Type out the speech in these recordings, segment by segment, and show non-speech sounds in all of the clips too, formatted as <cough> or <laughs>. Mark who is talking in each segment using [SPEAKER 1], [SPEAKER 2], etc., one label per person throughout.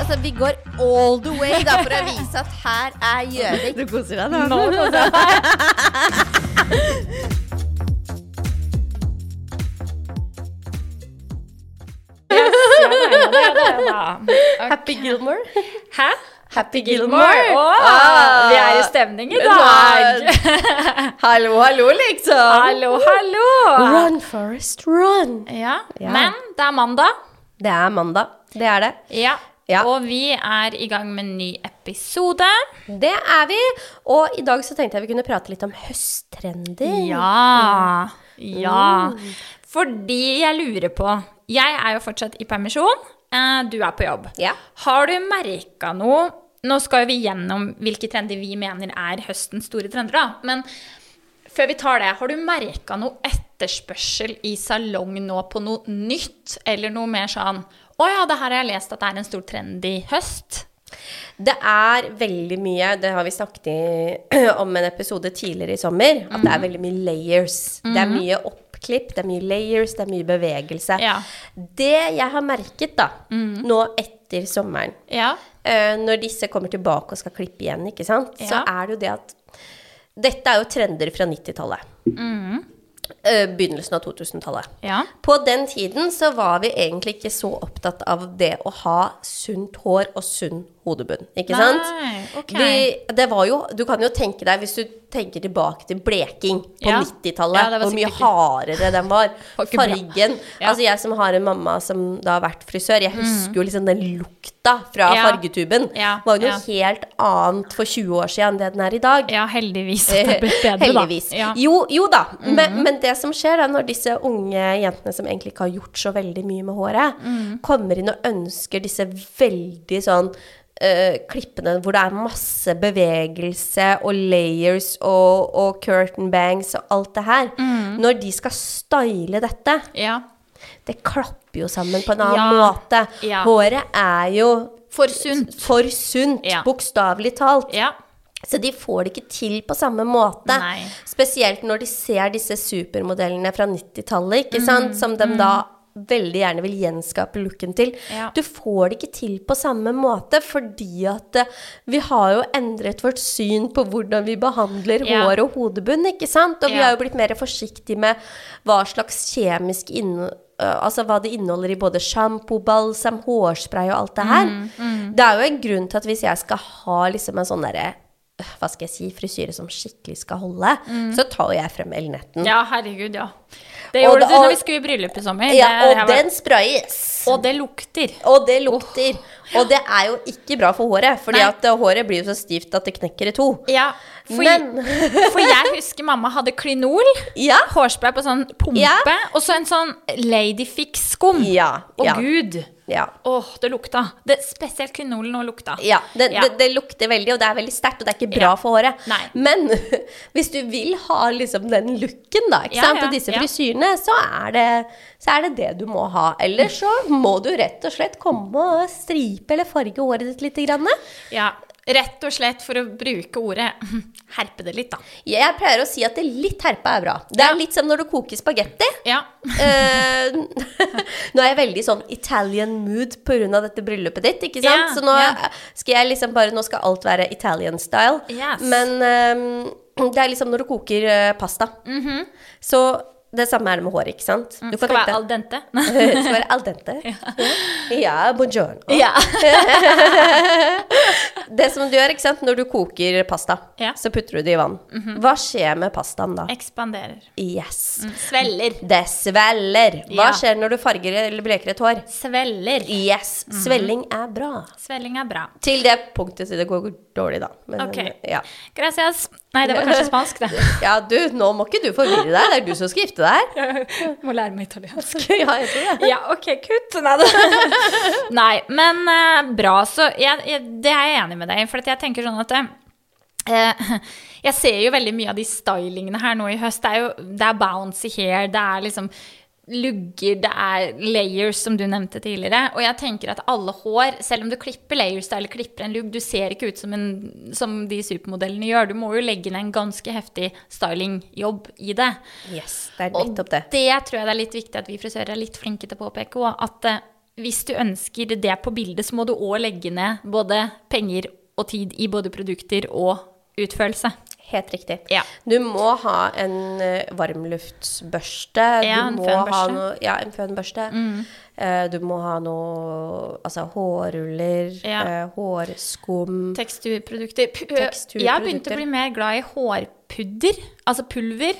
[SPEAKER 1] Altså, vi går all the way da, for å vise at her er Gjøvik.
[SPEAKER 2] Du koser deg nå.
[SPEAKER 3] Ja, nei, ja, nei, ja,
[SPEAKER 2] <laughs>
[SPEAKER 3] nei, ja.
[SPEAKER 2] Happy Gilmore.
[SPEAKER 3] Hæ?
[SPEAKER 2] Happy
[SPEAKER 3] Åh,
[SPEAKER 2] Ah.
[SPEAKER 3] vi er i stemning i dag!
[SPEAKER 2] Hallo, hallo, liksom.
[SPEAKER 3] Hallo, hallo!
[SPEAKER 2] Run, Forest, run.
[SPEAKER 3] Ja,
[SPEAKER 2] Ja.
[SPEAKER 3] men det er mandag.
[SPEAKER 2] Det er mandag. Det er det.
[SPEAKER 3] Ja.
[SPEAKER 2] Ja.
[SPEAKER 3] Og vi er i gang med en ny episode.
[SPEAKER 2] Det er vi. Og i dag så tenkte jeg vi kunne prate litt om høsttrender.
[SPEAKER 3] Uh. Ja. Ja. Fordi jeg lurer på Jeg er jo fortsatt i permisjon. eh, Du er på jobb.
[SPEAKER 2] Ja.
[SPEAKER 3] Har du merka noe Nå skal jo vi gjennom hvilke trender vi mener er høstens store trender, da. Men før vi tar det, har du merka noe etterspørsel i salong nå på noe nytt? Eller noe mer sånn Å ja, det her har jeg lest at det er en stor trend i høst.
[SPEAKER 2] Det er veldig mye, det har vi snakket i, <clears throat> om en episode tidligere i sommer, at det er veldig mye layers. Det er mye oppklipp, det er mye layers, det er mye bevegelse.
[SPEAKER 3] Ja.
[SPEAKER 2] Det jeg har merket da, nå etter sommeren,
[SPEAKER 3] Ja.
[SPEAKER 2] eh, når disse kommer tilbake og skal klippe igjen, ikke sant, så
[SPEAKER 3] Ja.
[SPEAKER 2] er det jo det at dette er jo trender fra 90-tallet. Eh, Begynnelsen av 2000-tallet.
[SPEAKER 3] Ja.
[SPEAKER 2] På den tiden så var vi egentlig ikke så opptatt av det å ha sunt hår og sunn hodebunn, ikke
[SPEAKER 3] Nei,
[SPEAKER 2] sant?
[SPEAKER 3] ok.
[SPEAKER 2] Vi, det var jo, du kan jo tenke deg, hvis du tenker tilbake til bleking på
[SPEAKER 3] Ja.
[SPEAKER 2] 90-tallet,
[SPEAKER 3] Ja, det var
[SPEAKER 2] hvor mye
[SPEAKER 3] sikkert
[SPEAKER 2] hardere den var.
[SPEAKER 3] <laughs> Var ikke bra.
[SPEAKER 2] Fargen.
[SPEAKER 3] Ja. Mm.
[SPEAKER 2] Altså jeg som har en mamma som da har vært frisør, jeg husker jo liksom den lukta fra
[SPEAKER 3] Ja.
[SPEAKER 2] fargetuben.
[SPEAKER 3] Ja,
[SPEAKER 2] Var jo noe helt annet for 20 år siden enn det den er i dag.
[SPEAKER 3] ja, heldigvis at det er blitt bedre, da.
[SPEAKER 2] Eh,
[SPEAKER 3] Mhm.
[SPEAKER 2] Heldigvis.
[SPEAKER 3] Ja.
[SPEAKER 2] Jo, jo da, men, men det som skjer da, når disse unge jentene som egentlig ikke har gjort så veldig mye med håret,
[SPEAKER 3] Mhm.
[SPEAKER 2] kommer inn og ønsker disse veldig sånn eh, klippene hvor det er masse bevegelse og layers og, og curtain bangs og alt det her,
[SPEAKER 3] Mhm.
[SPEAKER 2] når de skal style dette,
[SPEAKER 3] Ja.
[SPEAKER 2] det klapper jo sammen på en annen
[SPEAKER 3] Ja.
[SPEAKER 2] måte.
[SPEAKER 3] Ja.
[SPEAKER 2] Håret er jo
[SPEAKER 3] For sunt.
[SPEAKER 2] For sunt,
[SPEAKER 3] Ja.
[SPEAKER 2] bokstavelig talt.
[SPEAKER 3] Ja.
[SPEAKER 2] Så de får det ikke til på samme måte.
[SPEAKER 3] Nei.
[SPEAKER 2] Spesielt når de ser disse supermodellene fra 90-tallet, ikke sant?
[SPEAKER 3] Mm,
[SPEAKER 2] Som de da veldig gjerne vil gjenskape looken til.
[SPEAKER 3] Ja.
[SPEAKER 2] Du får det ikke til på samme måte, fordi at eh, vi har jo endret vårt syn på hvordan vi behandler
[SPEAKER 3] Ja.
[SPEAKER 2] hår og hodebunn, ikke sant? Og vi
[SPEAKER 3] Ja.
[SPEAKER 2] har jo blitt mer forsiktige med hva slags kjemisk innhold Altså hva det inneholder i både sjampo, balsam, hårspray og alt det her.
[SPEAKER 3] Mm,
[SPEAKER 2] Det er jo en grunn til at hvis jeg skal ha liksom en sånn derre øh, Hva skal jeg si Frisyre som skikkelig skal holde,
[SPEAKER 3] Mm.
[SPEAKER 2] så tar jo jeg frem Elnetten.
[SPEAKER 3] Ja, herregud, ja. Det
[SPEAKER 2] Og
[SPEAKER 3] gjorde
[SPEAKER 2] det-
[SPEAKER 3] du når
[SPEAKER 2] og-
[SPEAKER 3] vi skulle i bryllup i sommer.
[SPEAKER 2] Ja,
[SPEAKER 3] Det- jeg
[SPEAKER 2] og
[SPEAKER 3] var-
[SPEAKER 2] den sprayes.
[SPEAKER 3] og det lukter.
[SPEAKER 2] Og det lukter. Og det er jo ikke bra for håret, fordi
[SPEAKER 3] Nei.
[SPEAKER 2] at eh, håret blir jo så stivt at det knekker i to.
[SPEAKER 3] Ja, for,
[SPEAKER 2] Men-
[SPEAKER 3] <laughs> for jeg husker mamma hadde klinol,
[SPEAKER 2] Ja.
[SPEAKER 3] hårspray på sånn pumpe,
[SPEAKER 2] Ja.
[SPEAKER 3] og så en sånn Ladyfix-skum.
[SPEAKER 2] Ja.
[SPEAKER 3] Å
[SPEAKER 2] ja,
[SPEAKER 3] gud!
[SPEAKER 2] ja.
[SPEAKER 3] Åh, det lukta. Det, spesielt klinolen nå lukta.
[SPEAKER 2] Ja, det,
[SPEAKER 3] Ja.
[SPEAKER 2] Det, det lukter veldig, og det er veldig sterkt, og det er ikke bra
[SPEAKER 3] Ja.
[SPEAKER 2] for håret.
[SPEAKER 3] Nei.
[SPEAKER 2] Men <laughs> hvis du vil ha liksom den looken, da, ikke
[SPEAKER 3] Ja,
[SPEAKER 2] sant,
[SPEAKER 3] ja,
[SPEAKER 2] og disse
[SPEAKER 3] ja.
[SPEAKER 2] frisyrene, så er, det, så er det det du må ha. Eller så må du rett og slett komme og stripe eller farge håret ditt lite grann.
[SPEAKER 3] Ja, Rett og slett, for å bruke ordet <laughs> herpe det litt, da.
[SPEAKER 2] Jeg pleier å si at det litt herpa er bra. Det er litt som når du koker spagetti.
[SPEAKER 3] Ja.
[SPEAKER 2] Eh, <laughs> nå er jeg veldig sånn Italian mood pga. dette bryllupet ditt, ikke sant?
[SPEAKER 3] Ja,
[SPEAKER 2] så nå
[SPEAKER 3] ja.
[SPEAKER 2] skal jeg liksom bare Nå skal alt være Italian style.
[SPEAKER 3] Yes.
[SPEAKER 2] Men eh, det er liksom når du koker eh, pasta. Så det samme er det med håret, ikke sant? Du kan
[SPEAKER 3] Mhm. Mm, Skal være
[SPEAKER 2] tenke
[SPEAKER 3] al dente.
[SPEAKER 2] deg- <laughs> det skal være al
[SPEAKER 3] <laughs>
[SPEAKER 2] dente. Ja, buongiorno.
[SPEAKER 3] ja.
[SPEAKER 2] <laughs> Det som du gjør, ikke sant, når du koker pasta,
[SPEAKER 3] Ja. Mhm.
[SPEAKER 2] så putter du det i vann. Hva skjer med pastaen da?
[SPEAKER 3] Ekspanderer. Mm.
[SPEAKER 2] Yes.
[SPEAKER 3] Sveller.
[SPEAKER 2] Det sveller. Hva
[SPEAKER 3] Ja.
[SPEAKER 2] skjer når du farger eller bleker et hår?
[SPEAKER 3] Sveller.
[SPEAKER 2] Yes,
[SPEAKER 3] Mhm.
[SPEAKER 2] svelling er bra.
[SPEAKER 3] Svelling er bra.
[SPEAKER 2] Til det punktet så det går dårlig, da. Men,
[SPEAKER 3] Ok.
[SPEAKER 2] ja.
[SPEAKER 3] Gracias. Nei, det var
[SPEAKER 2] <laughs>
[SPEAKER 3] kanskje spansk, det.
[SPEAKER 2] ja, du, nå må ikke du forvirre deg. Det er du som skal gifte deg.
[SPEAKER 3] Må lære meg italiensk.
[SPEAKER 2] Ja, jeg tror det.
[SPEAKER 3] <laughs> Ja, ok, kutt. Nei, det- Nei men eh, bra. Så jeg, jeg, det er jeg enig med deg i. For at jeg tenker sånn at eh, <laughs> Jeg ser jo veldig mye av de stylingene her nå i høst. Det er jo det er bouncy hair, det er liksom lugger, det er layers, som du nevnte tidligere. Og jeg tenker at alle hår, selv om du klipper layers da, eller klipper en lugg, du ser ikke ut som, en, som de supermodellene gjør. Du må jo legge ned en ganske heftig stylingjobb i det.
[SPEAKER 2] Yes, det er
[SPEAKER 3] Og
[SPEAKER 2] nettopp det.
[SPEAKER 3] Det tror jeg det er litt viktig at vi frisører er litt flinke til å påpeke òg. At eh, hvis du ønsker det på bildet, så må du òg legge ned både penger og tid i både produkter og utførelse.
[SPEAKER 2] Helt riktig.
[SPEAKER 3] Ja.
[SPEAKER 2] Du må ha en eh, varmluftsbørste.
[SPEAKER 3] Ja, en
[SPEAKER 2] du må
[SPEAKER 3] fønbørste. Mm.
[SPEAKER 2] ha noe, ja, en fønbørste. Eh, du må ha noe altså hårruller,
[SPEAKER 3] Ja.
[SPEAKER 2] eh, hårskum
[SPEAKER 3] Teksturprodukter. Pu-
[SPEAKER 2] Teksturprodukter.
[SPEAKER 3] Jeg begynte å bli mer glad i hårpudder, altså pulver.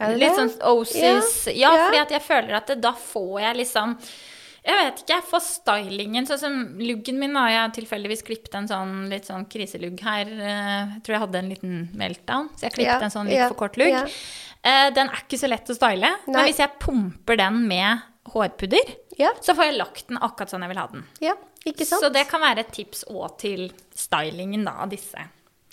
[SPEAKER 2] Er det
[SPEAKER 3] Litt
[SPEAKER 2] det?
[SPEAKER 3] sånn Osis. Ja,
[SPEAKER 2] Ja.
[SPEAKER 3] fordi at jeg føler at det, da får jeg liksom Jeg vet ikke, jeg får stylingen. Sånn som luggen min, da. Jeg har tilfeldigvis klippet en sånn litt sånn kriselugg her. eh, Jeg tror jeg hadde en liten meltdown, så jeg
[SPEAKER 2] Ja,
[SPEAKER 3] klippet en sånn litt
[SPEAKER 2] ja,
[SPEAKER 3] for kort lugg.
[SPEAKER 2] ja.
[SPEAKER 3] Eh, Den er ikke så lett å style, men
[SPEAKER 2] Nei.
[SPEAKER 3] hvis jeg pumper den med hårpudder,
[SPEAKER 2] Ja.
[SPEAKER 3] så får jeg lagt den akkurat sånn jeg vil ha den.
[SPEAKER 2] Ja, ikke sant?
[SPEAKER 3] Så det kan være et tips òg til stylingen da, av disse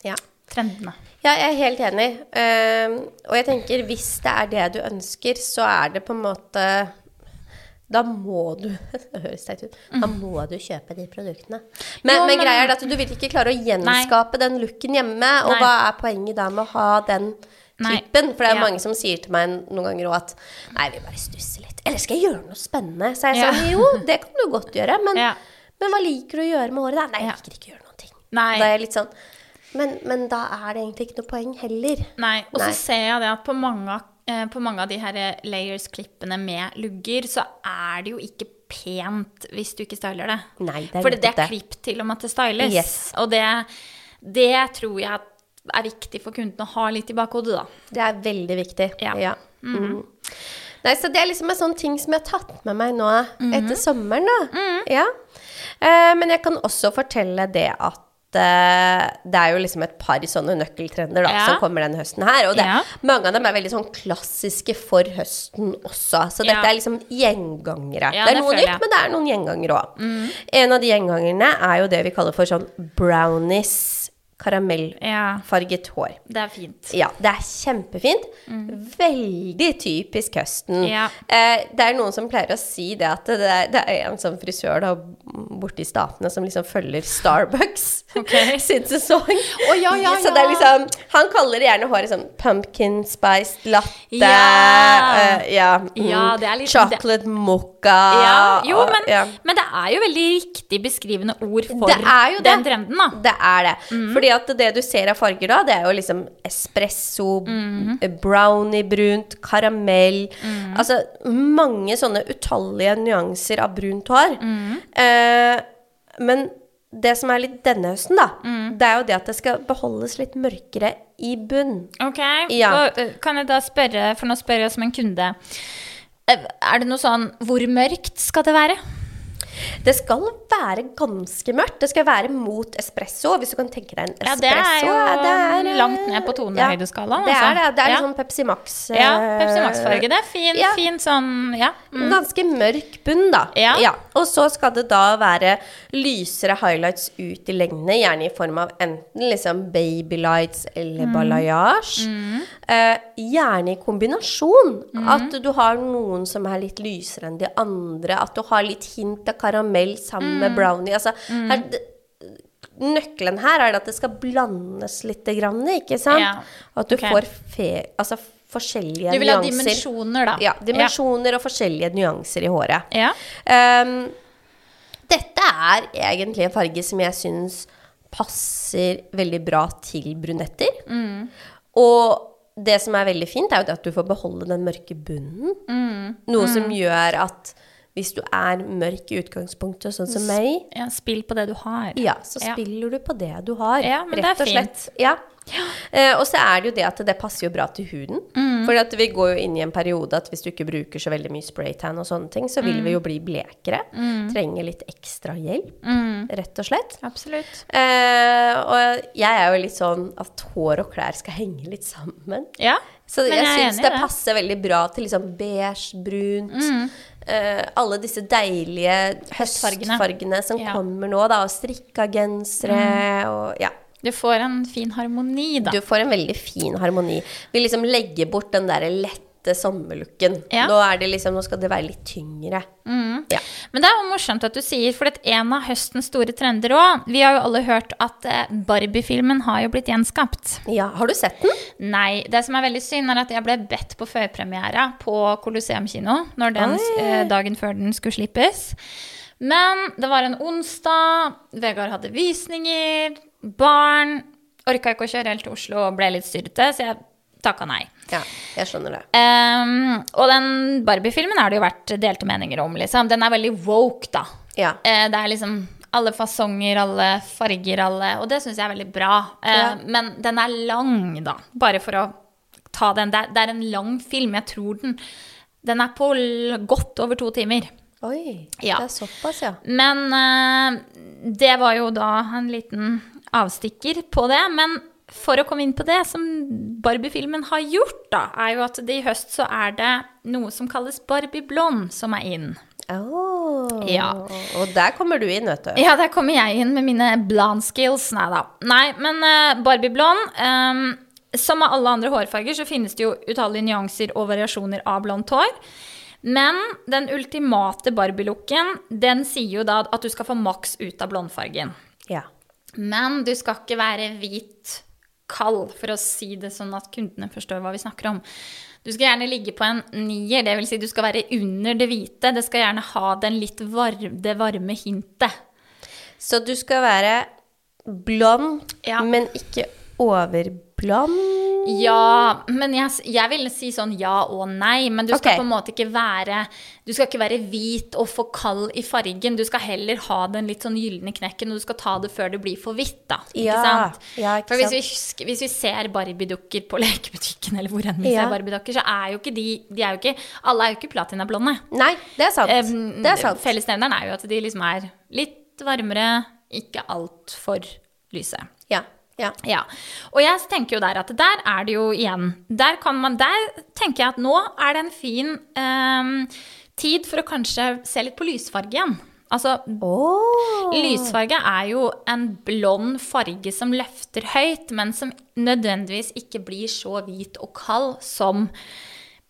[SPEAKER 2] ja.
[SPEAKER 3] trendene.
[SPEAKER 2] Ja, jeg er helt enig. Ehm, og jeg tenker, hvis det er det du ønsker, så er det på en måte Da må du <laughs> Det høres teit ut. Da må du kjøpe de produktene. Men,
[SPEAKER 3] Jo,
[SPEAKER 2] men
[SPEAKER 3] Mm. men-
[SPEAKER 2] greia er det at du vil ikke klare å gjenskape den looken hjemme. Og
[SPEAKER 3] Nei.
[SPEAKER 2] hva er poenget da med å ha den
[SPEAKER 3] Nei.
[SPEAKER 2] typen? For det er
[SPEAKER 3] Ja.
[SPEAKER 2] mange som sier til meg noen ganger òg at Nei, vi bare stusser litt. Eller skal jeg gjøre noe spennende? Så jeg
[SPEAKER 3] Ja.
[SPEAKER 2] sånn Jo, det kan du godt gjøre. Men,
[SPEAKER 3] Ja.
[SPEAKER 2] men hva liker du å gjøre med håret? da? Nei, jeg liker ikke å gjøre noen ting.
[SPEAKER 3] Nei.
[SPEAKER 2] Da er jeg litt sånn men, men da er det egentlig ikke noe poeng heller.
[SPEAKER 3] Nei, og så
[SPEAKER 2] Nei.
[SPEAKER 3] ser jeg det at på mange, av- eh, på mange av de her eh, layers-klippene med lugger, så er det jo ikke pent hvis du ikke styler det.
[SPEAKER 2] Nei, det er
[SPEAKER 3] For det
[SPEAKER 2] nettopp
[SPEAKER 3] er
[SPEAKER 2] det.
[SPEAKER 3] klipp til om at det styles.
[SPEAKER 2] Yes.
[SPEAKER 3] Og det, det tror jeg er viktig for kunden å ha litt i bakhodet, da.
[SPEAKER 2] Det er veldig viktig.
[SPEAKER 3] Ja.
[SPEAKER 2] Mm. Nei, så det er liksom en sånn ting som jeg har tatt med meg nå
[SPEAKER 3] Mhm.
[SPEAKER 2] etter sommeren, da. Ja. Eh, men jeg kan også fortelle det at eh, det er jo liksom et par sånne nøkkeltrender da,
[SPEAKER 3] Ja.
[SPEAKER 2] som kommer denne høsten her. Og det,
[SPEAKER 3] Ja.
[SPEAKER 2] mange av dem er veldig sånn klassiske for høsten også. Så dette
[SPEAKER 3] Ja,
[SPEAKER 2] er liksom gjengangere.
[SPEAKER 3] Ja,
[SPEAKER 2] det
[SPEAKER 3] det
[SPEAKER 2] er noe
[SPEAKER 3] føler jeg. Mm.
[SPEAKER 2] nytt, men det er noen gjengangere òg. En av de gjengangerne er jo det vi kaller for sånn brownies
[SPEAKER 3] Ja.
[SPEAKER 2] karamellfarget hår.
[SPEAKER 3] Det er fint. Mm.
[SPEAKER 2] Ja, det er kjempefint. Veldig typisk høsten.
[SPEAKER 3] Ja.
[SPEAKER 2] Eh, det er noen som pleier å si det at det er, det er en sånn frisør da, borte i Statene som liksom følger Starbucks
[SPEAKER 3] <laughs> Ok.
[SPEAKER 2] <laughs> sin sesong.
[SPEAKER 3] Å, ja, ja,
[SPEAKER 2] Så det er
[SPEAKER 3] ja.
[SPEAKER 2] liksom Han kaller det gjerne håret sånn pumpkin spiced latte
[SPEAKER 3] Ja.
[SPEAKER 2] eh, ja, mm,
[SPEAKER 3] Ja, det er litt-
[SPEAKER 2] Chocolate mocha
[SPEAKER 3] Ja, jo, men,
[SPEAKER 2] ja.
[SPEAKER 3] men det er jo veldig riktig beskrivende ord for
[SPEAKER 2] Det er jo det.
[SPEAKER 3] den trenden, da.
[SPEAKER 2] Det er det.
[SPEAKER 3] Mhm.
[SPEAKER 2] Fordi at det du ser av farger da, det er jo liksom espresso,
[SPEAKER 3] Mhm.
[SPEAKER 2] brownie-brunt, karamell Altså mange sånne utallige nyanser av brunt hår.
[SPEAKER 3] Mhm.
[SPEAKER 2] Eh, men det som er litt denne høsten, da,
[SPEAKER 3] Mhm.
[SPEAKER 2] det er jo det at det skal beholdes litt mørkere i bunn.
[SPEAKER 3] Ok,
[SPEAKER 2] Ja.
[SPEAKER 3] og eh, kan jeg da spørre, for nå spør jeg som en kunde. Eh, Er det noe sånn, hvor mørkt skal det være?
[SPEAKER 2] Det skal være ganske mørkt. Det skal være mot espresso, hvis du kan tenke deg en
[SPEAKER 3] Ja,
[SPEAKER 2] espresso.
[SPEAKER 3] det er jo
[SPEAKER 2] eh,
[SPEAKER 3] langt ned på
[SPEAKER 2] Ja,
[SPEAKER 3] tonehøydeskalaen,
[SPEAKER 2] det
[SPEAKER 3] altså.
[SPEAKER 2] er det. Det er
[SPEAKER 3] Ja.
[SPEAKER 2] litt sånn Pepsi Max.
[SPEAKER 3] Ja,
[SPEAKER 2] eh,
[SPEAKER 3] Pepsi Max-farge, det er fin,
[SPEAKER 2] ja.
[SPEAKER 3] fin sånn, ja. Mm.
[SPEAKER 2] Ganske mørk bunn, da.
[SPEAKER 3] Ja.
[SPEAKER 2] Og så skal det da være lysere highlights ut i lengdene, gjerne i form av enten liksom babylights eller
[SPEAKER 3] Mm.
[SPEAKER 2] balayage. Eh, gjerne i kombinasjon.
[SPEAKER 3] Mm.
[SPEAKER 2] At du har noen som er litt lysere enn de andre. At du har litt hint av karamell sammen
[SPEAKER 3] Mm.
[SPEAKER 2] med brownie. Altså, her, d- nøkkelen her er at det skal blandes litt, grann, ikke sant?
[SPEAKER 3] Ja.
[SPEAKER 2] At du
[SPEAKER 3] Ok.
[SPEAKER 2] får fe, altså, forskjellige
[SPEAKER 3] Du vil ha
[SPEAKER 2] nyanser.
[SPEAKER 3] dimensjoner, da.
[SPEAKER 2] Ja, dimensjoner og forskjellige nyanser i håret.
[SPEAKER 3] Ja.
[SPEAKER 2] Ehm, dette er egentlig en farge som jeg syns passer veldig bra til brunetter. Mm. Og det som er veldig fint, er jo det at du får beholde den mørke bunnen. Noe som gjør at hvis du er mørk i utgangspunktet, sånn som meg,
[SPEAKER 3] Ja, spill på det du har.
[SPEAKER 2] ja, så spiller du på det du har,
[SPEAKER 3] Ja, men det
[SPEAKER 2] rett
[SPEAKER 3] er
[SPEAKER 2] og slett. Ja. Eh, og så er det jo det at det passer jo bra til huden.
[SPEAKER 3] Mhm.
[SPEAKER 2] For at vi går jo inn i en periode at hvis du ikke bruker så veldig mye spraytan og sånne ting, så vil
[SPEAKER 3] Mhm.
[SPEAKER 2] vi jo bli blekere. Trenger litt ekstra hjelp,
[SPEAKER 3] Mhm.
[SPEAKER 2] rett og slett.
[SPEAKER 3] Absolutt.
[SPEAKER 2] Eh, og jeg er jo litt sånn at hår og klær skal henge litt sammen.
[SPEAKER 3] Ja,
[SPEAKER 2] Så
[SPEAKER 3] men
[SPEAKER 2] jeg,
[SPEAKER 3] jeg
[SPEAKER 2] syns
[SPEAKER 3] er enig i
[SPEAKER 2] det
[SPEAKER 3] det.
[SPEAKER 2] passer veldig bra til liksom beige, brunt eh, Alle disse deilige
[SPEAKER 3] Høstfargene.
[SPEAKER 2] høstfargene, som
[SPEAKER 3] Ja.
[SPEAKER 2] kommer nå, da. Og strikka gensere og Ja.
[SPEAKER 3] du får en fin harmoni, da.
[SPEAKER 2] Du får en veldig fin harmoni. Vi liksom legger bort den derre lette sommerlooken.
[SPEAKER 3] Ja.
[SPEAKER 2] Nå, er det liksom, nå skal det være litt tyngre. Ja.
[SPEAKER 3] Men det er jo morsomt at du sier, for det er en av høstens store trender òg. Vi har jo alle hørt at eh, Barbie-filmen har jo blitt gjenskapt.
[SPEAKER 2] ja. Har du sett den?
[SPEAKER 3] Nei. Det som er veldig synd, er at jeg ble bedt på førpremiera på Colosseum kino når den,
[SPEAKER 2] Oi.
[SPEAKER 3] eh, dagen før den skulle slippes. Men det var en onsdag, Vegard hadde visninger, barn. Orka ikke å kjøre helt til Oslo og ble litt styrete, så jeg takka nei.
[SPEAKER 4] Ja, jeg skjønner det.
[SPEAKER 3] Ehm, og den Barbie-filmen har det jo vært delte meninger om, liksom. Den er veldig woke, da.
[SPEAKER 4] Ja.
[SPEAKER 3] Eh, det er liksom alle fasonger, alle farger, alle Og det syns jeg er veldig bra. Eh,
[SPEAKER 4] Ja.
[SPEAKER 3] Men den er lang, da. Bare for å ta den. Det er, det er en lang film. Jeg tror den Den er på l godt over to timer.
[SPEAKER 4] Oi,
[SPEAKER 3] Ja.
[SPEAKER 4] det er såpass, ja.
[SPEAKER 3] Men eh, det var jo da en liten avstikker på det. Men for å komme inn på det som Barbie-filmen har gjort, da, er jo at det i høst så er det noe som kalles Barbie blond som er inn.
[SPEAKER 4] Åh.
[SPEAKER 3] Ja.
[SPEAKER 4] Og der kommer du inn, vet du.
[SPEAKER 3] Ja, der kommer jeg inn med mine blonde skills. Nei da. Nei, men eh, Barbie blond ehm, Som med alle andre hårfarger så finnes det jo utallige nyanser og variasjoner av blondt hår. Men den ultimate Barbie-looken, den sier jo da at du skal få maks ut av blondfargen.
[SPEAKER 4] Ja.
[SPEAKER 3] Men du skal ikke være hvit kald, for å si det sånn at kundene forstår hva vi snakker om. Du skal gjerne ligge på en nier, det vil Si du skal være under det hvite. Det skal gjerne ha den litt varm, det varme hintet.
[SPEAKER 4] Så du skal være blond,
[SPEAKER 3] Ja.
[SPEAKER 4] men ikke overblond.
[SPEAKER 3] Ja, men jeg, s- jeg vil si sånn ja og nei. Men du skal
[SPEAKER 4] Ok.
[SPEAKER 3] på en måte ikke være Du skal ikke være hvit og for kald i fargen. Du skal heller ha den litt sånn gylne knekken, og du skal ta det før det blir for hvitt, da. Ikke
[SPEAKER 4] Ja,
[SPEAKER 3] sant?
[SPEAKER 4] ja, ikke
[SPEAKER 3] for hvis
[SPEAKER 4] sant.
[SPEAKER 3] vi, husker- hvis vi ser Barbie-dukker på <laughs> lekebutikken, eller hvor enn vi
[SPEAKER 4] Ja.
[SPEAKER 3] ser Barbie-dukker, så er jo ikke de, de er jo ikke, Alle er jo ikke platinablonde.
[SPEAKER 4] Nei, det er sant.
[SPEAKER 3] Eh,
[SPEAKER 4] det er sant.
[SPEAKER 3] Fellesnevneren er jo at de liksom er litt varmere, ikke altfor lyse.
[SPEAKER 4] Ja. ja.
[SPEAKER 3] Ja. Og jeg tenker jo der at der er det jo igjen Der, kan man, der tenker jeg at nå er det en fin ehm, tid for å kanskje se litt på lysfarge igjen. Altså,
[SPEAKER 4] Åh.
[SPEAKER 3] lysfarge er jo en blond farge som løfter høyt, men som nødvendigvis ikke blir så hvit og kald som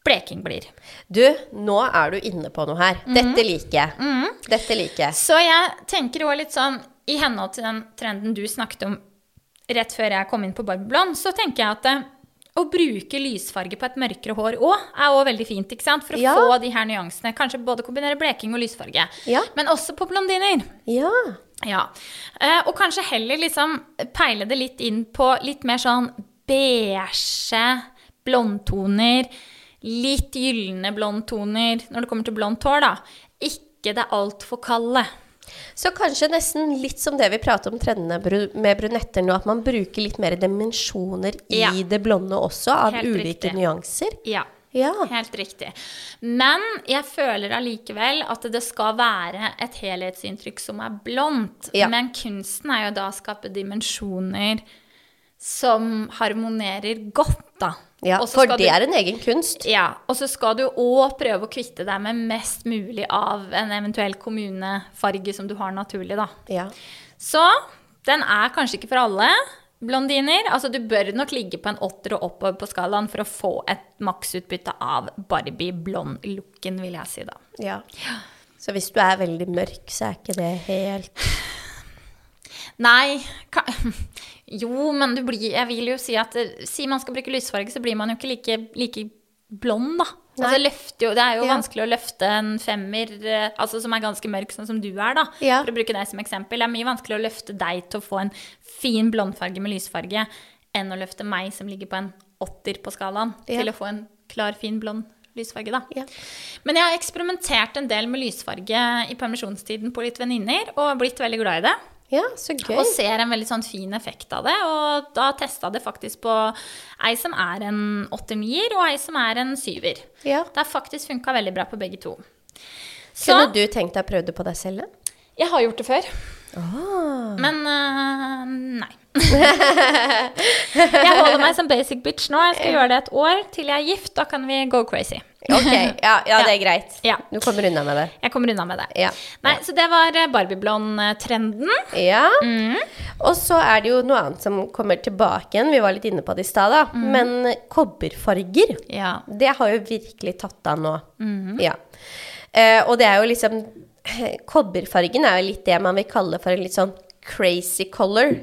[SPEAKER 3] bleking blir.
[SPEAKER 4] Du, nå er du inne på noe her.
[SPEAKER 3] Mhm.
[SPEAKER 4] Dette liker jeg. Dette liker jeg.
[SPEAKER 3] Så jeg tenker også litt sånn, i henhold til den trenden du snakket om rett før jeg kom inn på Barbie Blond, så tenker jeg at eh, å bruke lysfarge på et mørkere hår òg, er òg veldig fint. ikke sant? For å
[SPEAKER 4] Ja.
[SPEAKER 3] få de her nyansene. Kanskje både kombinere bleking og lysfarge.
[SPEAKER 4] Ja.
[SPEAKER 3] Men også på blondiner.
[SPEAKER 4] Ja.
[SPEAKER 3] Ja. Eh, og kanskje heller liksom peile det litt inn på litt mer sånn beige blondtoner. Litt gylne blondtoner når det kommer til blondt hår, da. Ikke det altfor kalde.
[SPEAKER 4] Så kanskje nesten litt som det vi prater om trendene bru- med brunetter nå, at man bruker litt mer dimensjoner i
[SPEAKER 3] Ja.
[SPEAKER 4] det blonde også, av
[SPEAKER 3] Helt
[SPEAKER 4] ulike
[SPEAKER 3] riktig.
[SPEAKER 4] nyanser.
[SPEAKER 3] Ja.
[SPEAKER 4] Ja.
[SPEAKER 3] Helt riktig. Men jeg føler allikevel at det skal være et helhetsinntrykk som er blondt.
[SPEAKER 4] Ja.
[SPEAKER 3] Men kunsten er jo da å skape dimensjoner som harmonerer godt, da.
[SPEAKER 4] ja.
[SPEAKER 3] Og så
[SPEAKER 4] For
[SPEAKER 3] skal
[SPEAKER 4] det
[SPEAKER 3] du-
[SPEAKER 4] er en egen kunst.
[SPEAKER 3] Ja, og så skal du òg prøve å kvitte deg med mest mulig av en eventuell kommunefarge som du har naturlig, da.
[SPEAKER 4] Ja.
[SPEAKER 3] Så den er kanskje ikke for alle blondiner. Altså, du bør nok ligge på en åtter og oppover på skalaen for å få et maksutbytte av Barbie-blond-looken, vil jeg si da.
[SPEAKER 4] ja. Så hvis du er veldig mørk, så er ikke det helt
[SPEAKER 3] Nei ka <laughs> Jo, men du blir Jeg vil jo si at eh, Si man skal bruke lysfarge, så blir man jo ikke like, like blond, da. Altså, løfter jo, det er jo
[SPEAKER 4] Ja.
[SPEAKER 3] vanskelig å løfte en femmer eh, altså, som er ganske mørk, sånn som du er, da.
[SPEAKER 4] Ja.
[SPEAKER 3] For å bruke deg som eksempel. Det er mye vanskeligere å løfte deg til å få en fin blondfarge med lysfarge enn å løfte meg, som ligger på en åtter på skalaen,
[SPEAKER 4] Ja.
[SPEAKER 3] til å få en klar, fin blond lysfarge, da.
[SPEAKER 4] Ja.
[SPEAKER 3] Men jeg har eksperimentert en del med lysfarge i permisjonstiden på litt venninner, og blitt veldig glad i det.
[SPEAKER 4] Ja, så gøy.
[SPEAKER 3] Og ser en veldig sånn fin effekt av det. Og da testa det faktisk på ei som er en åtter-nier, og ei som er en syver.
[SPEAKER 4] Ja.
[SPEAKER 3] Det har faktisk funka veldig bra på begge to. Så
[SPEAKER 4] Kunne du tenkt deg å prøve det på deg selv? da?
[SPEAKER 3] jeg har gjort det før.
[SPEAKER 4] Ah.
[SPEAKER 3] Men øh, nei. <laughs> jeg holder meg som basic bitch nå. Jeg skal gjøre det et år til jeg er gift. Da kan vi go crazy.
[SPEAKER 4] <laughs> Ok, ja, ja, det er greit.
[SPEAKER 3] Ja.
[SPEAKER 4] Du kommer unna med det.
[SPEAKER 3] Jeg kommer unna med det.
[SPEAKER 4] Ja.
[SPEAKER 3] Nei, Så det var eh, Barbie-blond-trenden.
[SPEAKER 4] Ja. Og så er det jo noe annet som kommer tilbake igjen. Vi var litt inne på det i stad, da. Men eh, kobberfarger,
[SPEAKER 3] Ja.
[SPEAKER 4] det har jo virkelig tatt av nå. Ja. Eh, og det er jo liksom <clears throat> Kobberfargen er jo litt det man vil kalle for en litt sånn crazy color.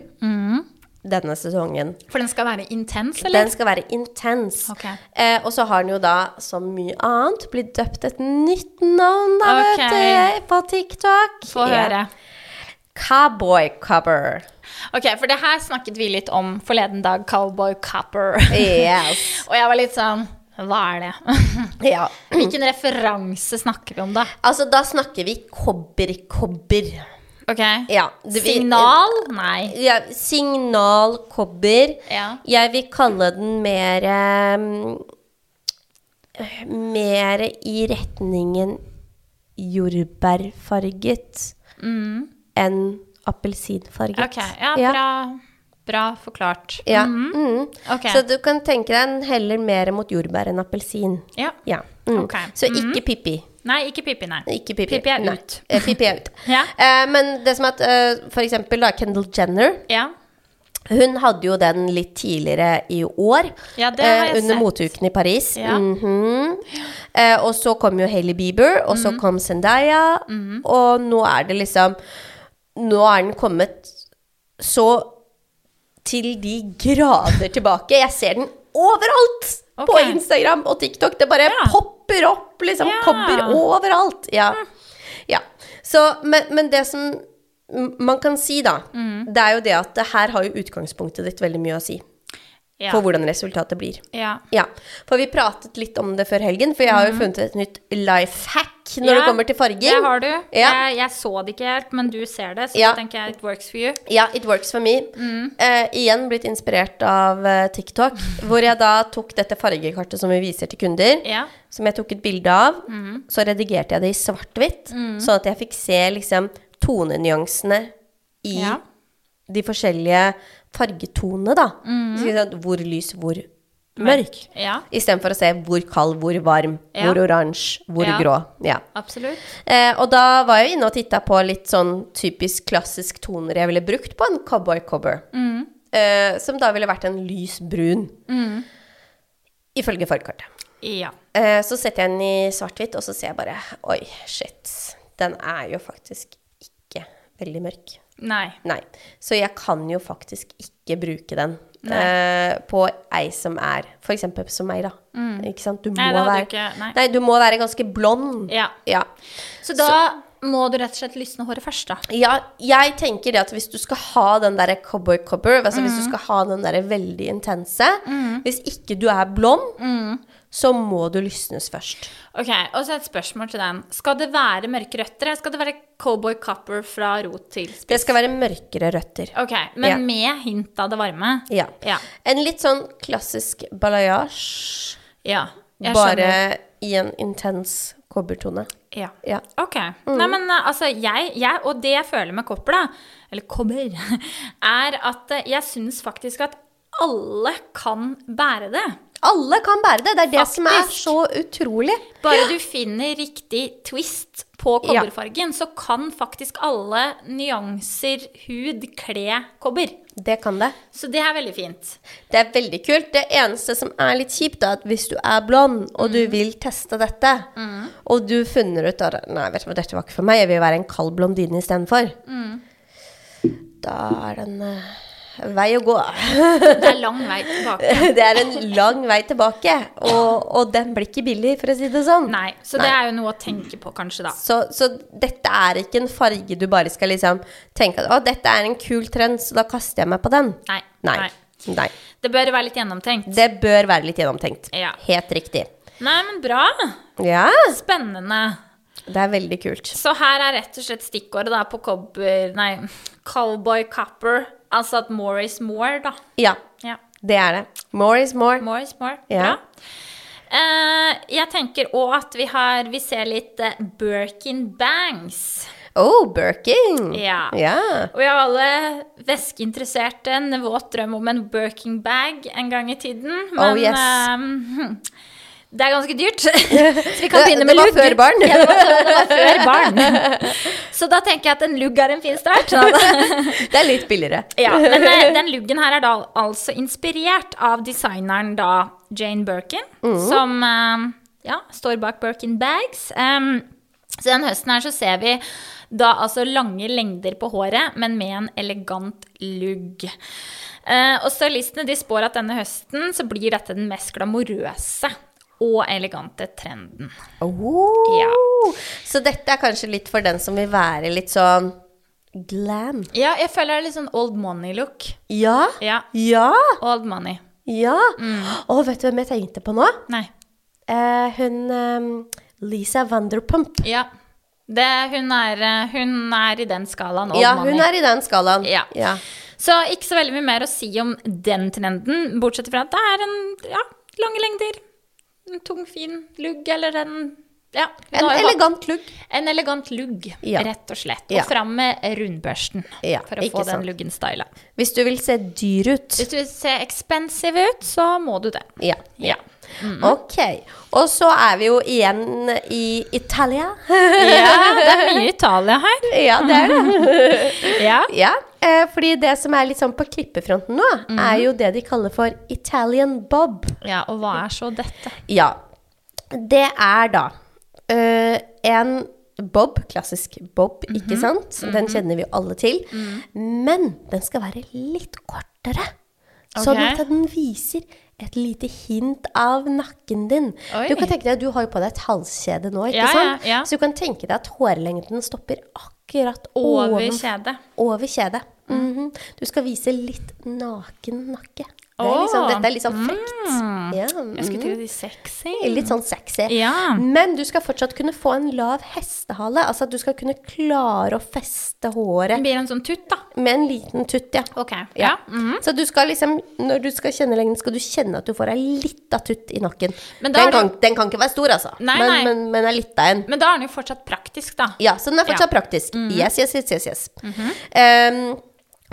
[SPEAKER 4] denne sesongen.
[SPEAKER 3] For den skal være intens, eller?
[SPEAKER 4] Den skal være intens.
[SPEAKER 3] Ok.
[SPEAKER 4] Eh, og så har den jo da, som mye annet, blitt døpt et nytt navn, da,
[SPEAKER 3] Ok.
[SPEAKER 4] vet du, på TikTok.
[SPEAKER 3] Få
[SPEAKER 4] Ja.
[SPEAKER 3] høre.
[SPEAKER 4] Cowboy cover.
[SPEAKER 3] Ok, for det her snakket vi litt om forleden dag, Cowboy Copper.
[SPEAKER 4] Yes.
[SPEAKER 3] Og jeg var litt sånn Hva er det? <laughs>
[SPEAKER 4] ja.
[SPEAKER 3] Hvilken referanse snakker vi om, da?
[SPEAKER 4] Altså, da snakker vi kobber-kobber.
[SPEAKER 3] Ok.
[SPEAKER 4] Ja, det- vi-
[SPEAKER 3] Signal? Nei.
[SPEAKER 4] Ja, signalkobber.
[SPEAKER 3] Ja.
[SPEAKER 4] Jeg vil kalle den mer eh, Mer i retningen jordbærfarget enn appelsinfarget.
[SPEAKER 3] Mm. Ok, ja,
[SPEAKER 4] Ja.
[SPEAKER 3] bra, bra forklart.
[SPEAKER 4] Ja.
[SPEAKER 3] Mhm.
[SPEAKER 4] Mm.
[SPEAKER 3] Ok.
[SPEAKER 4] Så du kan tenke deg den heller mer mot jordbær enn appelsin.
[SPEAKER 3] Ja.
[SPEAKER 4] Ja. Mm.
[SPEAKER 3] Ok.
[SPEAKER 4] Så ikke Pippi.
[SPEAKER 3] Nei, ikke Pippi, nei.
[SPEAKER 4] Ikke Pippi.
[SPEAKER 3] Pippi er
[SPEAKER 4] Nei.
[SPEAKER 3] ut.
[SPEAKER 4] Eh, Pippi er ut.
[SPEAKER 3] <laughs> Ja.
[SPEAKER 4] Eh, men det som er at eh, for eksempel da, Kendall Jenner
[SPEAKER 3] Ja.
[SPEAKER 4] Hun hadde jo den litt tidligere i år, eh,
[SPEAKER 3] Ja, det har jeg
[SPEAKER 4] under
[SPEAKER 3] sett.
[SPEAKER 4] moteuken i Paris.
[SPEAKER 3] Ja.
[SPEAKER 4] Mhm. eh, og så kom jo Hailey Bieber, og
[SPEAKER 3] Mhm.
[SPEAKER 4] så kom Zendaya, og nå er det liksom Nå er den kommet så til de grader tilbake. Jeg ser den overalt! På
[SPEAKER 3] Ok.
[SPEAKER 4] Instagram og TikTok. Det bare
[SPEAKER 3] Ja.
[SPEAKER 4] popper opp, liksom.
[SPEAKER 3] Ja. Mm.
[SPEAKER 4] Kobber overalt. Ja. ja. Så, men, men det som m- man kan si, da,
[SPEAKER 3] Mm.
[SPEAKER 4] det er jo det at det her har jo utgangspunktet ditt veldig mye å si
[SPEAKER 3] Ja.
[SPEAKER 4] for hvordan resultatet blir.
[SPEAKER 3] ja.
[SPEAKER 4] Ja, for vi pratet litt om det før helgen, for jeg har jo funnet et nytt life hack når
[SPEAKER 3] Mm. Ja,
[SPEAKER 4] det kommer til farging.
[SPEAKER 3] Det har du.
[SPEAKER 4] Ja.
[SPEAKER 3] Jeg, jeg så det ikke helt, men du ser det, så
[SPEAKER 4] Ja.
[SPEAKER 3] da tenker jeg it works for you.
[SPEAKER 4] Ja, it works for me.
[SPEAKER 3] Mm.
[SPEAKER 4] Eh, igjen blitt inspirert av eh, TikTok, hvor jeg da tok dette fargekartet som vi viser til kunder,
[SPEAKER 3] Ja.
[SPEAKER 4] som jeg tok et bilde av.
[SPEAKER 3] Mm.
[SPEAKER 4] Så redigerte jeg det i svart-hvitt, sånn at jeg fikk se liksom tonenyansene i
[SPEAKER 3] Ja.
[SPEAKER 4] de forskjellige fargetonene, da.
[SPEAKER 3] Mm.
[SPEAKER 4] Ikke sant? Hvor lys, hvor mørk.
[SPEAKER 3] Ja,
[SPEAKER 4] Istedenfor å se hvor kald, hvor varm,
[SPEAKER 3] Ja.
[SPEAKER 4] hvor oransje, hvor
[SPEAKER 3] Ja.
[SPEAKER 4] grå. Ja.
[SPEAKER 3] absolutt.
[SPEAKER 4] Eh, og da var jeg inne og titta på litt sånn typisk klassisk toner jeg ville brukt på en cowboy cobber.
[SPEAKER 3] Mm.
[SPEAKER 4] Eh, som da ville vært en lys brun. Ifølge fargekartet.
[SPEAKER 3] Ja.
[SPEAKER 4] Eh, så setter jeg den i svart-hvitt, og så ser jeg bare Oi, shit. Den er jo faktisk ikke veldig mørk.
[SPEAKER 3] Nei.
[SPEAKER 4] Nei. Så jeg kan jo faktisk ikke bruke den eh, på ei som er For eksempel som meg, da. Ikke sant? Du må,
[SPEAKER 3] Mm. Nei, det hadde
[SPEAKER 4] være,
[SPEAKER 3] du ikke. Nei.
[SPEAKER 4] nei, du må være ganske blond.
[SPEAKER 3] Ja.
[SPEAKER 4] Ja.
[SPEAKER 3] Så da må du rett og slett lysne håret først, da.
[SPEAKER 4] Ja, jeg tenker det at hvis du skal ha den der cowboy copper, altså hvis
[SPEAKER 3] Mm.
[SPEAKER 4] du skal ha den der veldig intense, hvis ikke du er blond,
[SPEAKER 3] Mm.
[SPEAKER 4] så må du lysnes først.
[SPEAKER 3] Ok, Og så et spørsmål til den. Skal det være mørke røtter, eller skal det være cowboy copper fra rot til spiss?
[SPEAKER 4] Det skal være mørkere røtter.
[SPEAKER 3] Ok, men
[SPEAKER 4] Ja.
[SPEAKER 3] med hint av det varme?
[SPEAKER 4] Ja.
[SPEAKER 3] Ja.
[SPEAKER 4] En litt sånn klassisk balayage,
[SPEAKER 3] ja. Jeg
[SPEAKER 4] bare
[SPEAKER 3] skjønner.
[SPEAKER 4] i en intens kobbertone.
[SPEAKER 3] Ja.
[SPEAKER 4] Ja. Mm.
[SPEAKER 3] Ok. Nei, men eh, altså, jeg, jeg Og det jeg føler med kopper, da, eller kobber, <laughs> er at eh, jeg syns faktisk at alle kan bære det.
[SPEAKER 4] Alle kan bære det, det er det som er
[SPEAKER 3] Faktisk.
[SPEAKER 4] så utrolig.
[SPEAKER 3] Bare du finner riktig twist på kobberfargen, så kan faktisk alle nyanser hud kle kobber.
[SPEAKER 4] Det kan det.
[SPEAKER 3] Så det er veldig fint.
[SPEAKER 4] Det er veldig kult. Det eneste som er litt kjipt, er at hvis du er blond, og du vil teste dette, og du funner ut at Nei, vet du hva, dette var ikke for meg, jeg vil være en kald blondine istedenfor. Mm. Da er det en eh, vei å gå. <laughs>
[SPEAKER 3] Det er lang vei tilbake.
[SPEAKER 4] det er en lang vei tilbake, og, og den blir ikke billig, for å si det sånn.
[SPEAKER 3] Nei, så det er jo noe å tenke på, kanskje, da.
[SPEAKER 4] Så, så dette er ikke en farge du bare skal liksom tenke at å, dette er en kul trend, så da kaster jeg meg på den.
[SPEAKER 3] Nei.
[SPEAKER 4] Nei.
[SPEAKER 3] Nei.
[SPEAKER 4] Nei.
[SPEAKER 3] Det bør være litt gjennomtenkt.
[SPEAKER 4] Det bør være litt gjennomtenkt.
[SPEAKER 3] Ja.
[SPEAKER 4] Helt riktig.
[SPEAKER 3] Nei, men bra.
[SPEAKER 4] Ja,
[SPEAKER 3] Spennende.
[SPEAKER 4] det er veldig kult.
[SPEAKER 3] Så her er rett og slett stikkordet da på cobber, nei, cowboy copper. Altså at more is more, da.
[SPEAKER 4] Ja,
[SPEAKER 3] Ja.
[SPEAKER 4] det er det. More is more.
[SPEAKER 3] More is more.
[SPEAKER 4] Ja.
[SPEAKER 3] Bra. Eh, jeg tenker òg at vi har Vi ser litt eh, Birkin Bangs.
[SPEAKER 4] Oh, Birkin!
[SPEAKER 3] Ja. Og vi har alle væskeinteresserte en våt drøm om en Birkin bag en gang i tiden. Men
[SPEAKER 4] Oh, yes.
[SPEAKER 3] eh, <laughs> det er ganske dyrt.
[SPEAKER 4] <laughs>
[SPEAKER 3] <laughs> Så vi kan
[SPEAKER 4] Det-
[SPEAKER 3] begynne med
[SPEAKER 4] det var
[SPEAKER 3] lugg.
[SPEAKER 4] før barn.
[SPEAKER 3] Ja, det var, det var før barn. Så da tenker jeg at en lugg er en fin start. Sånn.
[SPEAKER 4] <laughs> Det er litt billigere.
[SPEAKER 3] <laughs> Ja, men eh, den luggen her er da al- altså inspirert av designeren da Jane Birkin, som eh, ja, står bak Birkin Bags. Em, så den høsten her så ser vi da altså lange lengder på håret, men med en elegant lugg. Eh, og stylistene de spår at denne høsten så blir dette den mest glamorøse og elegante trenden.
[SPEAKER 4] Oh. Så dette er kanskje litt for den som vil være litt sånn glam.
[SPEAKER 3] Ja, jeg føler det er litt sånn old money-look.
[SPEAKER 4] Ja.
[SPEAKER 3] Ja, Mm.
[SPEAKER 4] Ja.
[SPEAKER 3] old money.
[SPEAKER 4] Ja. Og vet du hvem jeg tenkte på nå?
[SPEAKER 3] Nei.
[SPEAKER 4] Eh, hun eh, Lisa Vanderpump.
[SPEAKER 3] Ja. Det, hun, er, eh, hun er i den skalaen. Old
[SPEAKER 4] Ja,
[SPEAKER 3] money.
[SPEAKER 4] hun er i den skalaen.
[SPEAKER 3] Ja.
[SPEAKER 4] ja.
[SPEAKER 3] Så ikke så veldig mye mer å si om den trenden, bortsett fra at det er en ja, lange lengder. En tung, fin lugg, eller en ja, hun
[SPEAKER 4] En
[SPEAKER 3] har jo
[SPEAKER 4] elegant lugg.
[SPEAKER 3] hatt- en elegant lugg,
[SPEAKER 4] Ja.
[SPEAKER 3] rett og slett. Og
[SPEAKER 4] Ja.
[SPEAKER 3] fram med rundbørsten
[SPEAKER 4] Ja,
[SPEAKER 3] for å
[SPEAKER 4] ikke
[SPEAKER 3] få
[SPEAKER 4] sant.
[SPEAKER 3] den luggen styla.
[SPEAKER 4] Hvis du vil se dyr ut.
[SPEAKER 3] Hvis du vil se expensive ut, så må du det.
[SPEAKER 4] Ja.
[SPEAKER 3] Ja.
[SPEAKER 4] Ok. Og så er vi jo igjen i Italia.
[SPEAKER 3] ja, det er mye Italia her.
[SPEAKER 4] <laughs> ja, det er det.
[SPEAKER 3] Ja.
[SPEAKER 4] <laughs> Ja, eh, fordi det som er litt sånn på klippefronten nå, er jo det de kaller for Italian bob.
[SPEAKER 3] ja, og hva er så dette?
[SPEAKER 4] Ja. Det er da øh, en bob, klassisk bob,
[SPEAKER 3] Mhm.
[SPEAKER 4] ikke sant? Den kjenner vi jo alle til.
[SPEAKER 3] Mm.
[SPEAKER 4] Men den skal være litt kortere. Sånn
[SPEAKER 3] Ok.
[SPEAKER 4] at den viser et lite hint av nakken din.
[SPEAKER 3] Oi.
[SPEAKER 4] Du kan tenke deg, du har jo på deg et halskjede nå, ikke
[SPEAKER 3] Ja, ja,
[SPEAKER 4] sant?
[SPEAKER 3] ja.
[SPEAKER 4] Så du kan tenke deg at hårlengden stopper akkurat over,
[SPEAKER 3] Over Mm.
[SPEAKER 4] over,
[SPEAKER 3] kjedet.
[SPEAKER 4] kjedet. Mhm. Du skal vise litt naken nakke. Det er
[SPEAKER 3] Åh. Mm.
[SPEAKER 4] liksom, dette er litt sånn frekt. Ja,
[SPEAKER 3] Jeg skulle
[SPEAKER 4] mhm.
[SPEAKER 3] til å si sexy.
[SPEAKER 4] Litt sånn sexy.
[SPEAKER 3] Ja.
[SPEAKER 4] Men du skal fortsatt kunne få en lav hestehale. Altså at du skal kunne klare å feste
[SPEAKER 3] Det
[SPEAKER 4] håret
[SPEAKER 3] blir en sånn tutt, da.
[SPEAKER 4] med en liten tutt, ja.
[SPEAKER 3] Ok,
[SPEAKER 4] Ja.
[SPEAKER 3] ja. Mhm.
[SPEAKER 4] Så du skal liksom, når du skal kjenne lengden, skal du kjenne at du får ei lita tutt i nakken. Den
[SPEAKER 3] Men da er
[SPEAKER 4] kan, den kan ikke være stor, altså.
[SPEAKER 3] Nei,
[SPEAKER 4] men,
[SPEAKER 3] nei.
[SPEAKER 4] men, men er litt av en.
[SPEAKER 3] Men da er den jo fortsatt praktisk, da.
[SPEAKER 4] Ja, så den er fortsatt praktisk.
[SPEAKER 3] Mhm.
[SPEAKER 4] Yes, yes, yes, yes. yes. Ehm,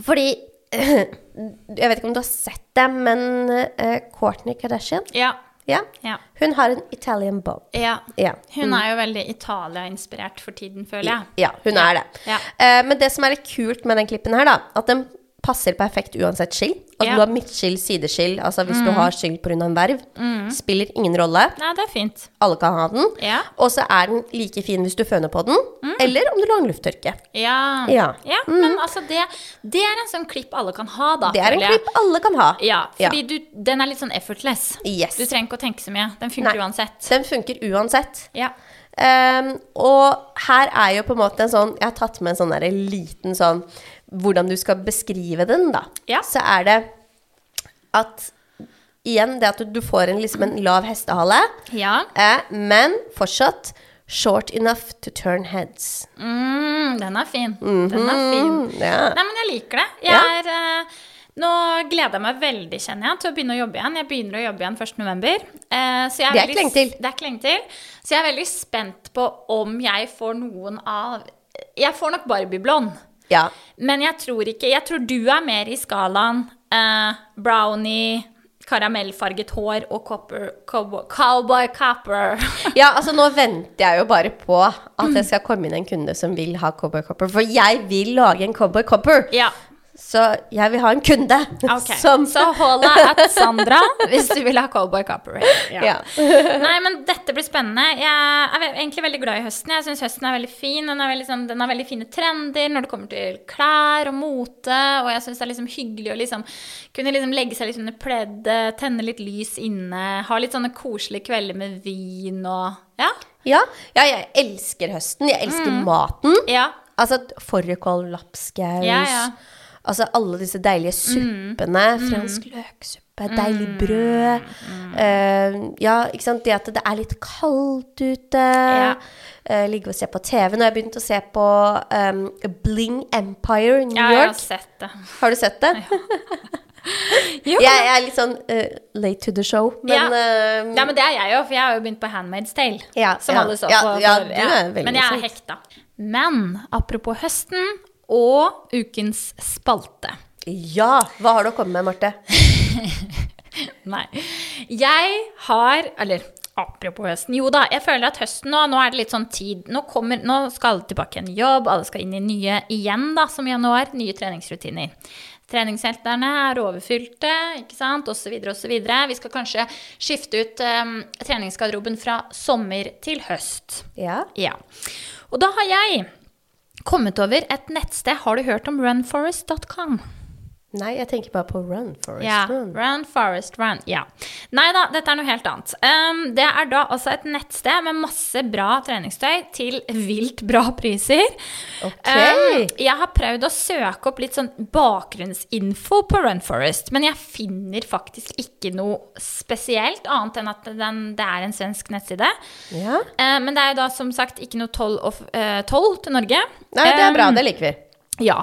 [SPEAKER 4] fordi <laughs> Jeg vet ikke om du har sett det, men eh, Kourtney Kardashian,
[SPEAKER 3] Ja.
[SPEAKER 4] ja,
[SPEAKER 3] ja.
[SPEAKER 4] hun har en Italian bob.
[SPEAKER 3] ja. Mm.
[SPEAKER 4] Ja.
[SPEAKER 3] Hun er jo veldig Italia-inspirert for tiden, føler jeg.
[SPEAKER 4] Ja, hun
[SPEAKER 3] Ja.
[SPEAKER 4] er det.
[SPEAKER 3] Ja.
[SPEAKER 4] Eh, men det som er litt kult med den klippen her, da, at den passer perfekt uansett skill. At
[SPEAKER 3] Ja. Mm.
[SPEAKER 4] du har midtskill, sideskill, altså hvis du har skill pga. en verv, spiller ingen rolle.
[SPEAKER 3] Nei, det er fint.
[SPEAKER 4] Alle kan ha den.
[SPEAKER 3] Mm. Ja. Mm.
[SPEAKER 4] Og så er den like fin hvis du føner på den, eller om du lager lufttørke.
[SPEAKER 3] Ja.
[SPEAKER 4] Ja.
[SPEAKER 3] Men altså, det, det er en sånn klipp alle kan ha, da.
[SPEAKER 4] Det er en
[SPEAKER 3] føler jeg.
[SPEAKER 4] klipp alle kan ha.
[SPEAKER 3] Ja,
[SPEAKER 4] Ja.
[SPEAKER 3] fordi Du, den er litt sånn effortless.
[SPEAKER 4] Yes.
[SPEAKER 3] Du trenger ikke å tenke så mye. Den
[SPEAKER 4] Nei.
[SPEAKER 3] funker uansett.
[SPEAKER 4] Den funker uansett.
[SPEAKER 3] Ja.
[SPEAKER 4] Ehm, og her er jo på en måte en sånn Jeg har tatt med en sånn der liten sånn Hvordan du skal beskrive den, da.
[SPEAKER 3] Ja.
[SPEAKER 4] Så er det at Igjen det at du, du får en, liksom en lav hestehale,
[SPEAKER 3] ja.
[SPEAKER 4] eh, men fortsatt short enough to turn heads.
[SPEAKER 3] Mm, den er fin. Den er fin.
[SPEAKER 4] Mm, ja.
[SPEAKER 3] Nei, men jeg liker det. Jeg
[SPEAKER 4] Ja.
[SPEAKER 3] er, eh, nå gleder jeg meg veldig, kjenner jeg, til å begynne å jobbe igjen. Jeg begynner å jobbe igjen 1. november. Eh, så jeg
[SPEAKER 4] Det er
[SPEAKER 3] veldig
[SPEAKER 4] ikke lenge til.
[SPEAKER 3] s- Det er ikke lenge til. Så jeg er veldig spent på om jeg får noen av Jeg får nok Barbie-blond,
[SPEAKER 4] ja.
[SPEAKER 3] men jeg tror ikke Jeg tror du er mer i skalaen eh, brownie, karamellfarget hår og copper, cowboy, cowboy
[SPEAKER 4] <laughs>
[SPEAKER 3] copper.
[SPEAKER 4] Ja, altså nå venter jeg jo bare på at det skal komme inn en kunde som vil ha cowboy copper. For jeg vil lage en cowboy copper!
[SPEAKER 3] ja.
[SPEAKER 4] Så jeg vil ha en kunde <laughs>
[SPEAKER 3] Ok,
[SPEAKER 4] som
[SPEAKER 3] Så hold deg at Sandra hvis du vil ha cowboy copper.
[SPEAKER 4] Ja.
[SPEAKER 3] Nei, men dette blir spennende. Jeg er ve- egentlig veldig glad i høsten. Jeg syns høsten er veldig fin. Den, er veldig, sånn, den har veldig fine trender når det kommer til klær og mote. Og jeg syns det er liksom hyggelig å liksom kunne liksom legge seg litt under pleddet, tenne litt lys inne, ha litt sånne koselige kvelder med vin og Ja.
[SPEAKER 4] Ja, ja jeg elsker høsten. Jeg elsker
[SPEAKER 3] Mm.
[SPEAKER 4] maten.
[SPEAKER 3] ja.
[SPEAKER 4] Altså fårikål, lapskaus
[SPEAKER 3] Ja, ja. Mm.
[SPEAKER 4] Altså alle disse deilige suppene. Fransk løksuppe, deilig brød.
[SPEAKER 3] Mm.
[SPEAKER 4] eh, ja, ikke sant. Det at det er litt kaldt ute.
[SPEAKER 3] Ja.
[SPEAKER 4] eh, ligge og se på TV. Nå har jeg begynt å se på eh, Bling Empire New
[SPEAKER 3] ja, altså. jeg har
[SPEAKER 4] York.
[SPEAKER 3] sett det.
[SPEAKER 4] Har du sett det? <laughs>
[SPEAKER 3] Jo.
[SPEAKER 4] Jeg, jeg er litt sånn eh, late to the show, men
[SPEAKER 3] Ja.
[SPEAKER 4] eh,
[SPEAKER 3] Ja, men det er jeg jo, for jeg har jo begynt på Handmaid's Tale.
[SPEAKER 4] Ja,
[SPEAKER 3] som
[SPEAKER 4] ja,
[SPEAKER 3] alle så
[SPEAKER 4] ja,
[SPEAKER 3] på.
[SPEAKER 4] ja,
[SPEAKER 3] for-
[SPEAKER 4] du er veldig
[SPEAKER 3] men jeg
[SPEAKER 4] sant.
[SPEAKER 3] er hekta. Men apropos høsten og ukens spalte.
[SPEAKER 4] ja. Hva har du å komme med, Marte?
[SPEAKER 3] Nei. Jeg har Eller apropos høsten. Jo da, jeg føler at høsten nå, nå er det litt sånn tid. Nå, kommer, nå skal alle tilbake igjen i jobb, alle skal inn i nye igjen, da, som i januar. Nye treningsrutiner. Treningshelterne er overfylte, ikke sant, osv., osv. Vi skal kanskje skifte ut eh, treningsgarderoben fra sommer til høst.
[SPEAKER 4] Ja.
[SPEAKER 3] Ja. Og da har jeg kommet over et nettsted. Har du hørt om runforest.com?
[SPEAKER 4] Nei, jeg tenker bare på Run Forest
[SPEAKER 3] Ja.
[SPEAKER 4] Run.
[SPEAKER 3] Run, Forest, Run. Ja. Nei da, dette er noe helt annet. Ehm, det er da også et nettsted med masse bra treningstøy til vilt bra priser.
[SPEAKER 4] Ok.
[SPEAKER 3] Ehm, jeg har prøvd å søke opp litt sånn bakgrunnsinfo på Run Forest, men jeg finner faktisk ikke noe spesielt, annet enn at den, det er en svensk nettside.
[SPEAKER 4] Ja.
[SPEAKER 3] Ehm, men det er jo da som sagt ikke noe toll of- eh, toll til Norge.
[SPEAKER 4] Nei, det er bra.
[SPEAKER 3] Ehm,
[SPEAKER 4] Det liker vi.
[SPEAKER 3] ja.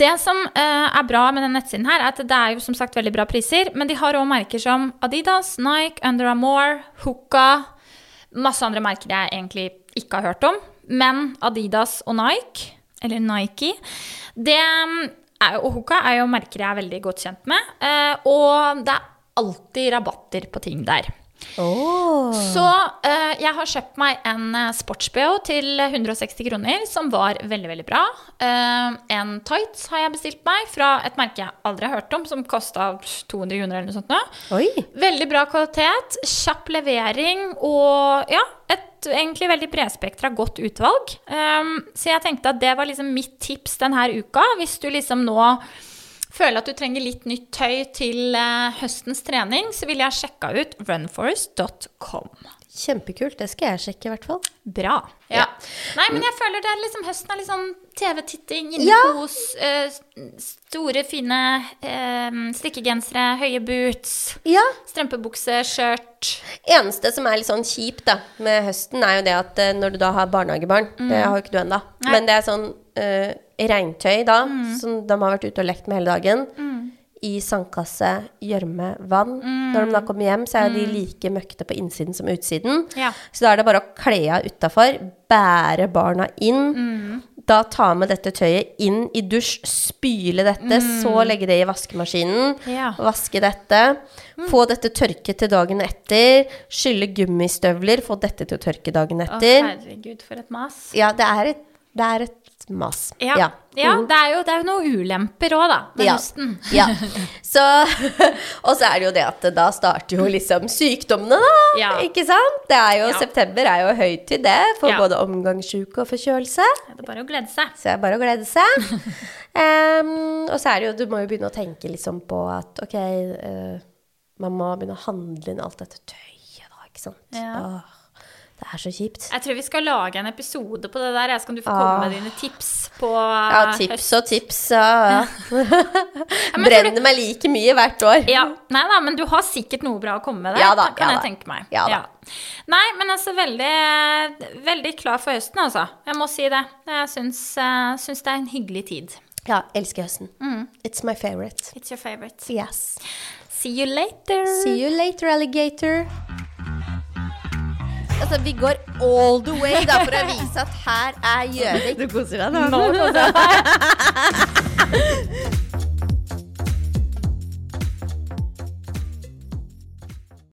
[SPEAKER 3] Det som eh, er bra med den nettsiden her, er at det er jo som sagt veldig bra priser, men de har òg merker som Adidas, Nike, Under Amour, Hoka Masse andre merker jeg egentlig ikke har hørt om, men Adidas og Nike, eller Nike det mm, er, jo- Og Hoka er jo merker jeg er veldig godt kjent med, eh, og det er alltid rabatter på ting der.
[SPEAKER 4] Åh.
[SPEAKER 3] Så eh, jeg har kjøpt meg en eh, sports-BH til 160 kroner, som var veldig, veldig bra. Eh, en tights har jeg bestilt meg fra et merke jeg aldri har hørt om, som kosta 200 kroner eller noe sånt. nå.
[SPEAKER 4] Oi.
[SPEAKER 3] Veldig bra kvalitet, kjapp levering og ja, et egentlig veldig bredspektra godt utvalg. Um, så jeg tenkte at det var liksom mitt tips denne uka. Hvis du liksom nå føler at du trenger litt nytt tøy til eh, høstens trening, så ville jeg sjekka ut runforest.com.
[SPEAKER 4] Kjempekult. Det skal jeg sjekke, i hvert fall.
[SPEAKER 3] Bra. Ja. Nei, men jeg føler det er liksom høsten er litt sånn TV-titting,
[SPEAKER 4] Ja.
[SPEAKER 3] innekos, eh, s- store, fine eh, strikkegensere, høye boots.
[SPEAKER 4] Ja.
[SPEAKER 3] Strømpebukse, skjørt.
[SPEAKER 4] Eneste som er litt sånn kjipt da, med høsten, er jo det at eh, når du da har barnehagebarn Det har jo ikke du ennå.
[SPEAKER 3] Mm. Nei. Mm.
[SPEAKER 4] Men det er sånn eh, regntøy da, som de har vært ute og lekt med hele dagen. I sandkasse, gjørme, vann.
[SPEAKER 3] Mm.
[SPEAKER 4] Når de da kommer hjem, så er jo de like møkkete på innsiden som utsiden.
[SPEAKER 3] Ja.
[SPEAKER 4] Så da er det bare å kle av utafor, bære barna inn.
[SPEAKER 3] Mm.
[SPEAKER 4] Da ta med dette tøyet inn i dusj, spyle dette, så legge det i vaskemaskinen.
[SPEAKER 3] Mm. Ja. Mm.
[SPEAKER 4] Vaske dette. Få dette tørket til dagen etter. Skylle gummistøvler, få dette til å tørke dagen
[SPEAKER 3] Å,
[SPEAKER 4] etter.
[SPEAKER 3] herregud, for et mas.
[SPEAKER 4] ja, det er et, det er et mas.
[SPEAKER 3] Ja, ja. det, er jo, det er jo noen ulemper òg, da, med
[SPEAKER 4] Mm. Ja.
[SPEAKER 3] høsten.
[SPEAKER 4] ja.
[SPEAKER 3] <laughs>
[SPEAKER 4] Så, <laughs> og så er det jo det at da starter jo liksom sykdommene, da.
[SPEAKER 3] Ja.
[SPEAKER 4] Ikke sant? Det er jo,
[SPEAKER 3] Ja.
[SPEAKER 4] September er jo høytid, det, for
[SPEAKER 3] Ja.
[SPEAKER 4] både omgangssjuke og forkjølelse.
[SPEAKER 3] Det er bare å glede seg.
[SPEAKER 4] Så det er bare å glede
[SPEAKER 3] <laughs>
[SPEAKER 4] seg. Em, og så er det jo, du må jo begynne å tenke liksom på at ok, eh, man må begynne å handle inn alt dette tøyet, da, ikke sant.
[SPEAKER 3] Ja.
[SPEAKER 4] Åh, det er så kjipt.
[SPEAKER 3] Jeg tror vi skal lage en episode på det der. Jeg skal du få
[SPEAKER 4] Ah.
[SPEAKER 3] komme med dine tips på
[SPEAKER 4] Ja,
[SPEAKER 3] høst.
[SPEAKER 4] tips og tips. Ja, <laughs> ja.
[SPEAKER 3] men for
[SPEAKER 4] Brenner meg like mye hvert år.
[SPEAKER 3] Ja, nei da, men du har sikkert noe bra å komme med der.
[SPEAKER 4] Ja da,
[SPEAKER 3] kan
[SPEAKER 4] ja da.
[SPEAKER 3] jeg tenke meg.
[SPEAKER 4] Ja da.
[SPEAKER 3] Nei, men altså veldig, veldig klar for høsten, altså. Jeg må si det. Jeg syns, eh, syns det er en hyggelig tid.
[SPEAKER 4] Ja, elsker høsten.
[SPEAKER 3] Mm.
[SPEAKER 4] It's my favorite.
[SPEAKER 3] It's your favorite.
[SPEAKER 4] Yes.
[SPEAKER 3] See you later.
[SPEAKER 4] See you later, alligator.
[SPEAKER 2] Altså, vi går all the way da, for å vise at her er Gjøvik.
[SPEAKER 4] Du koser deg
[SPEAKER 3] Nå,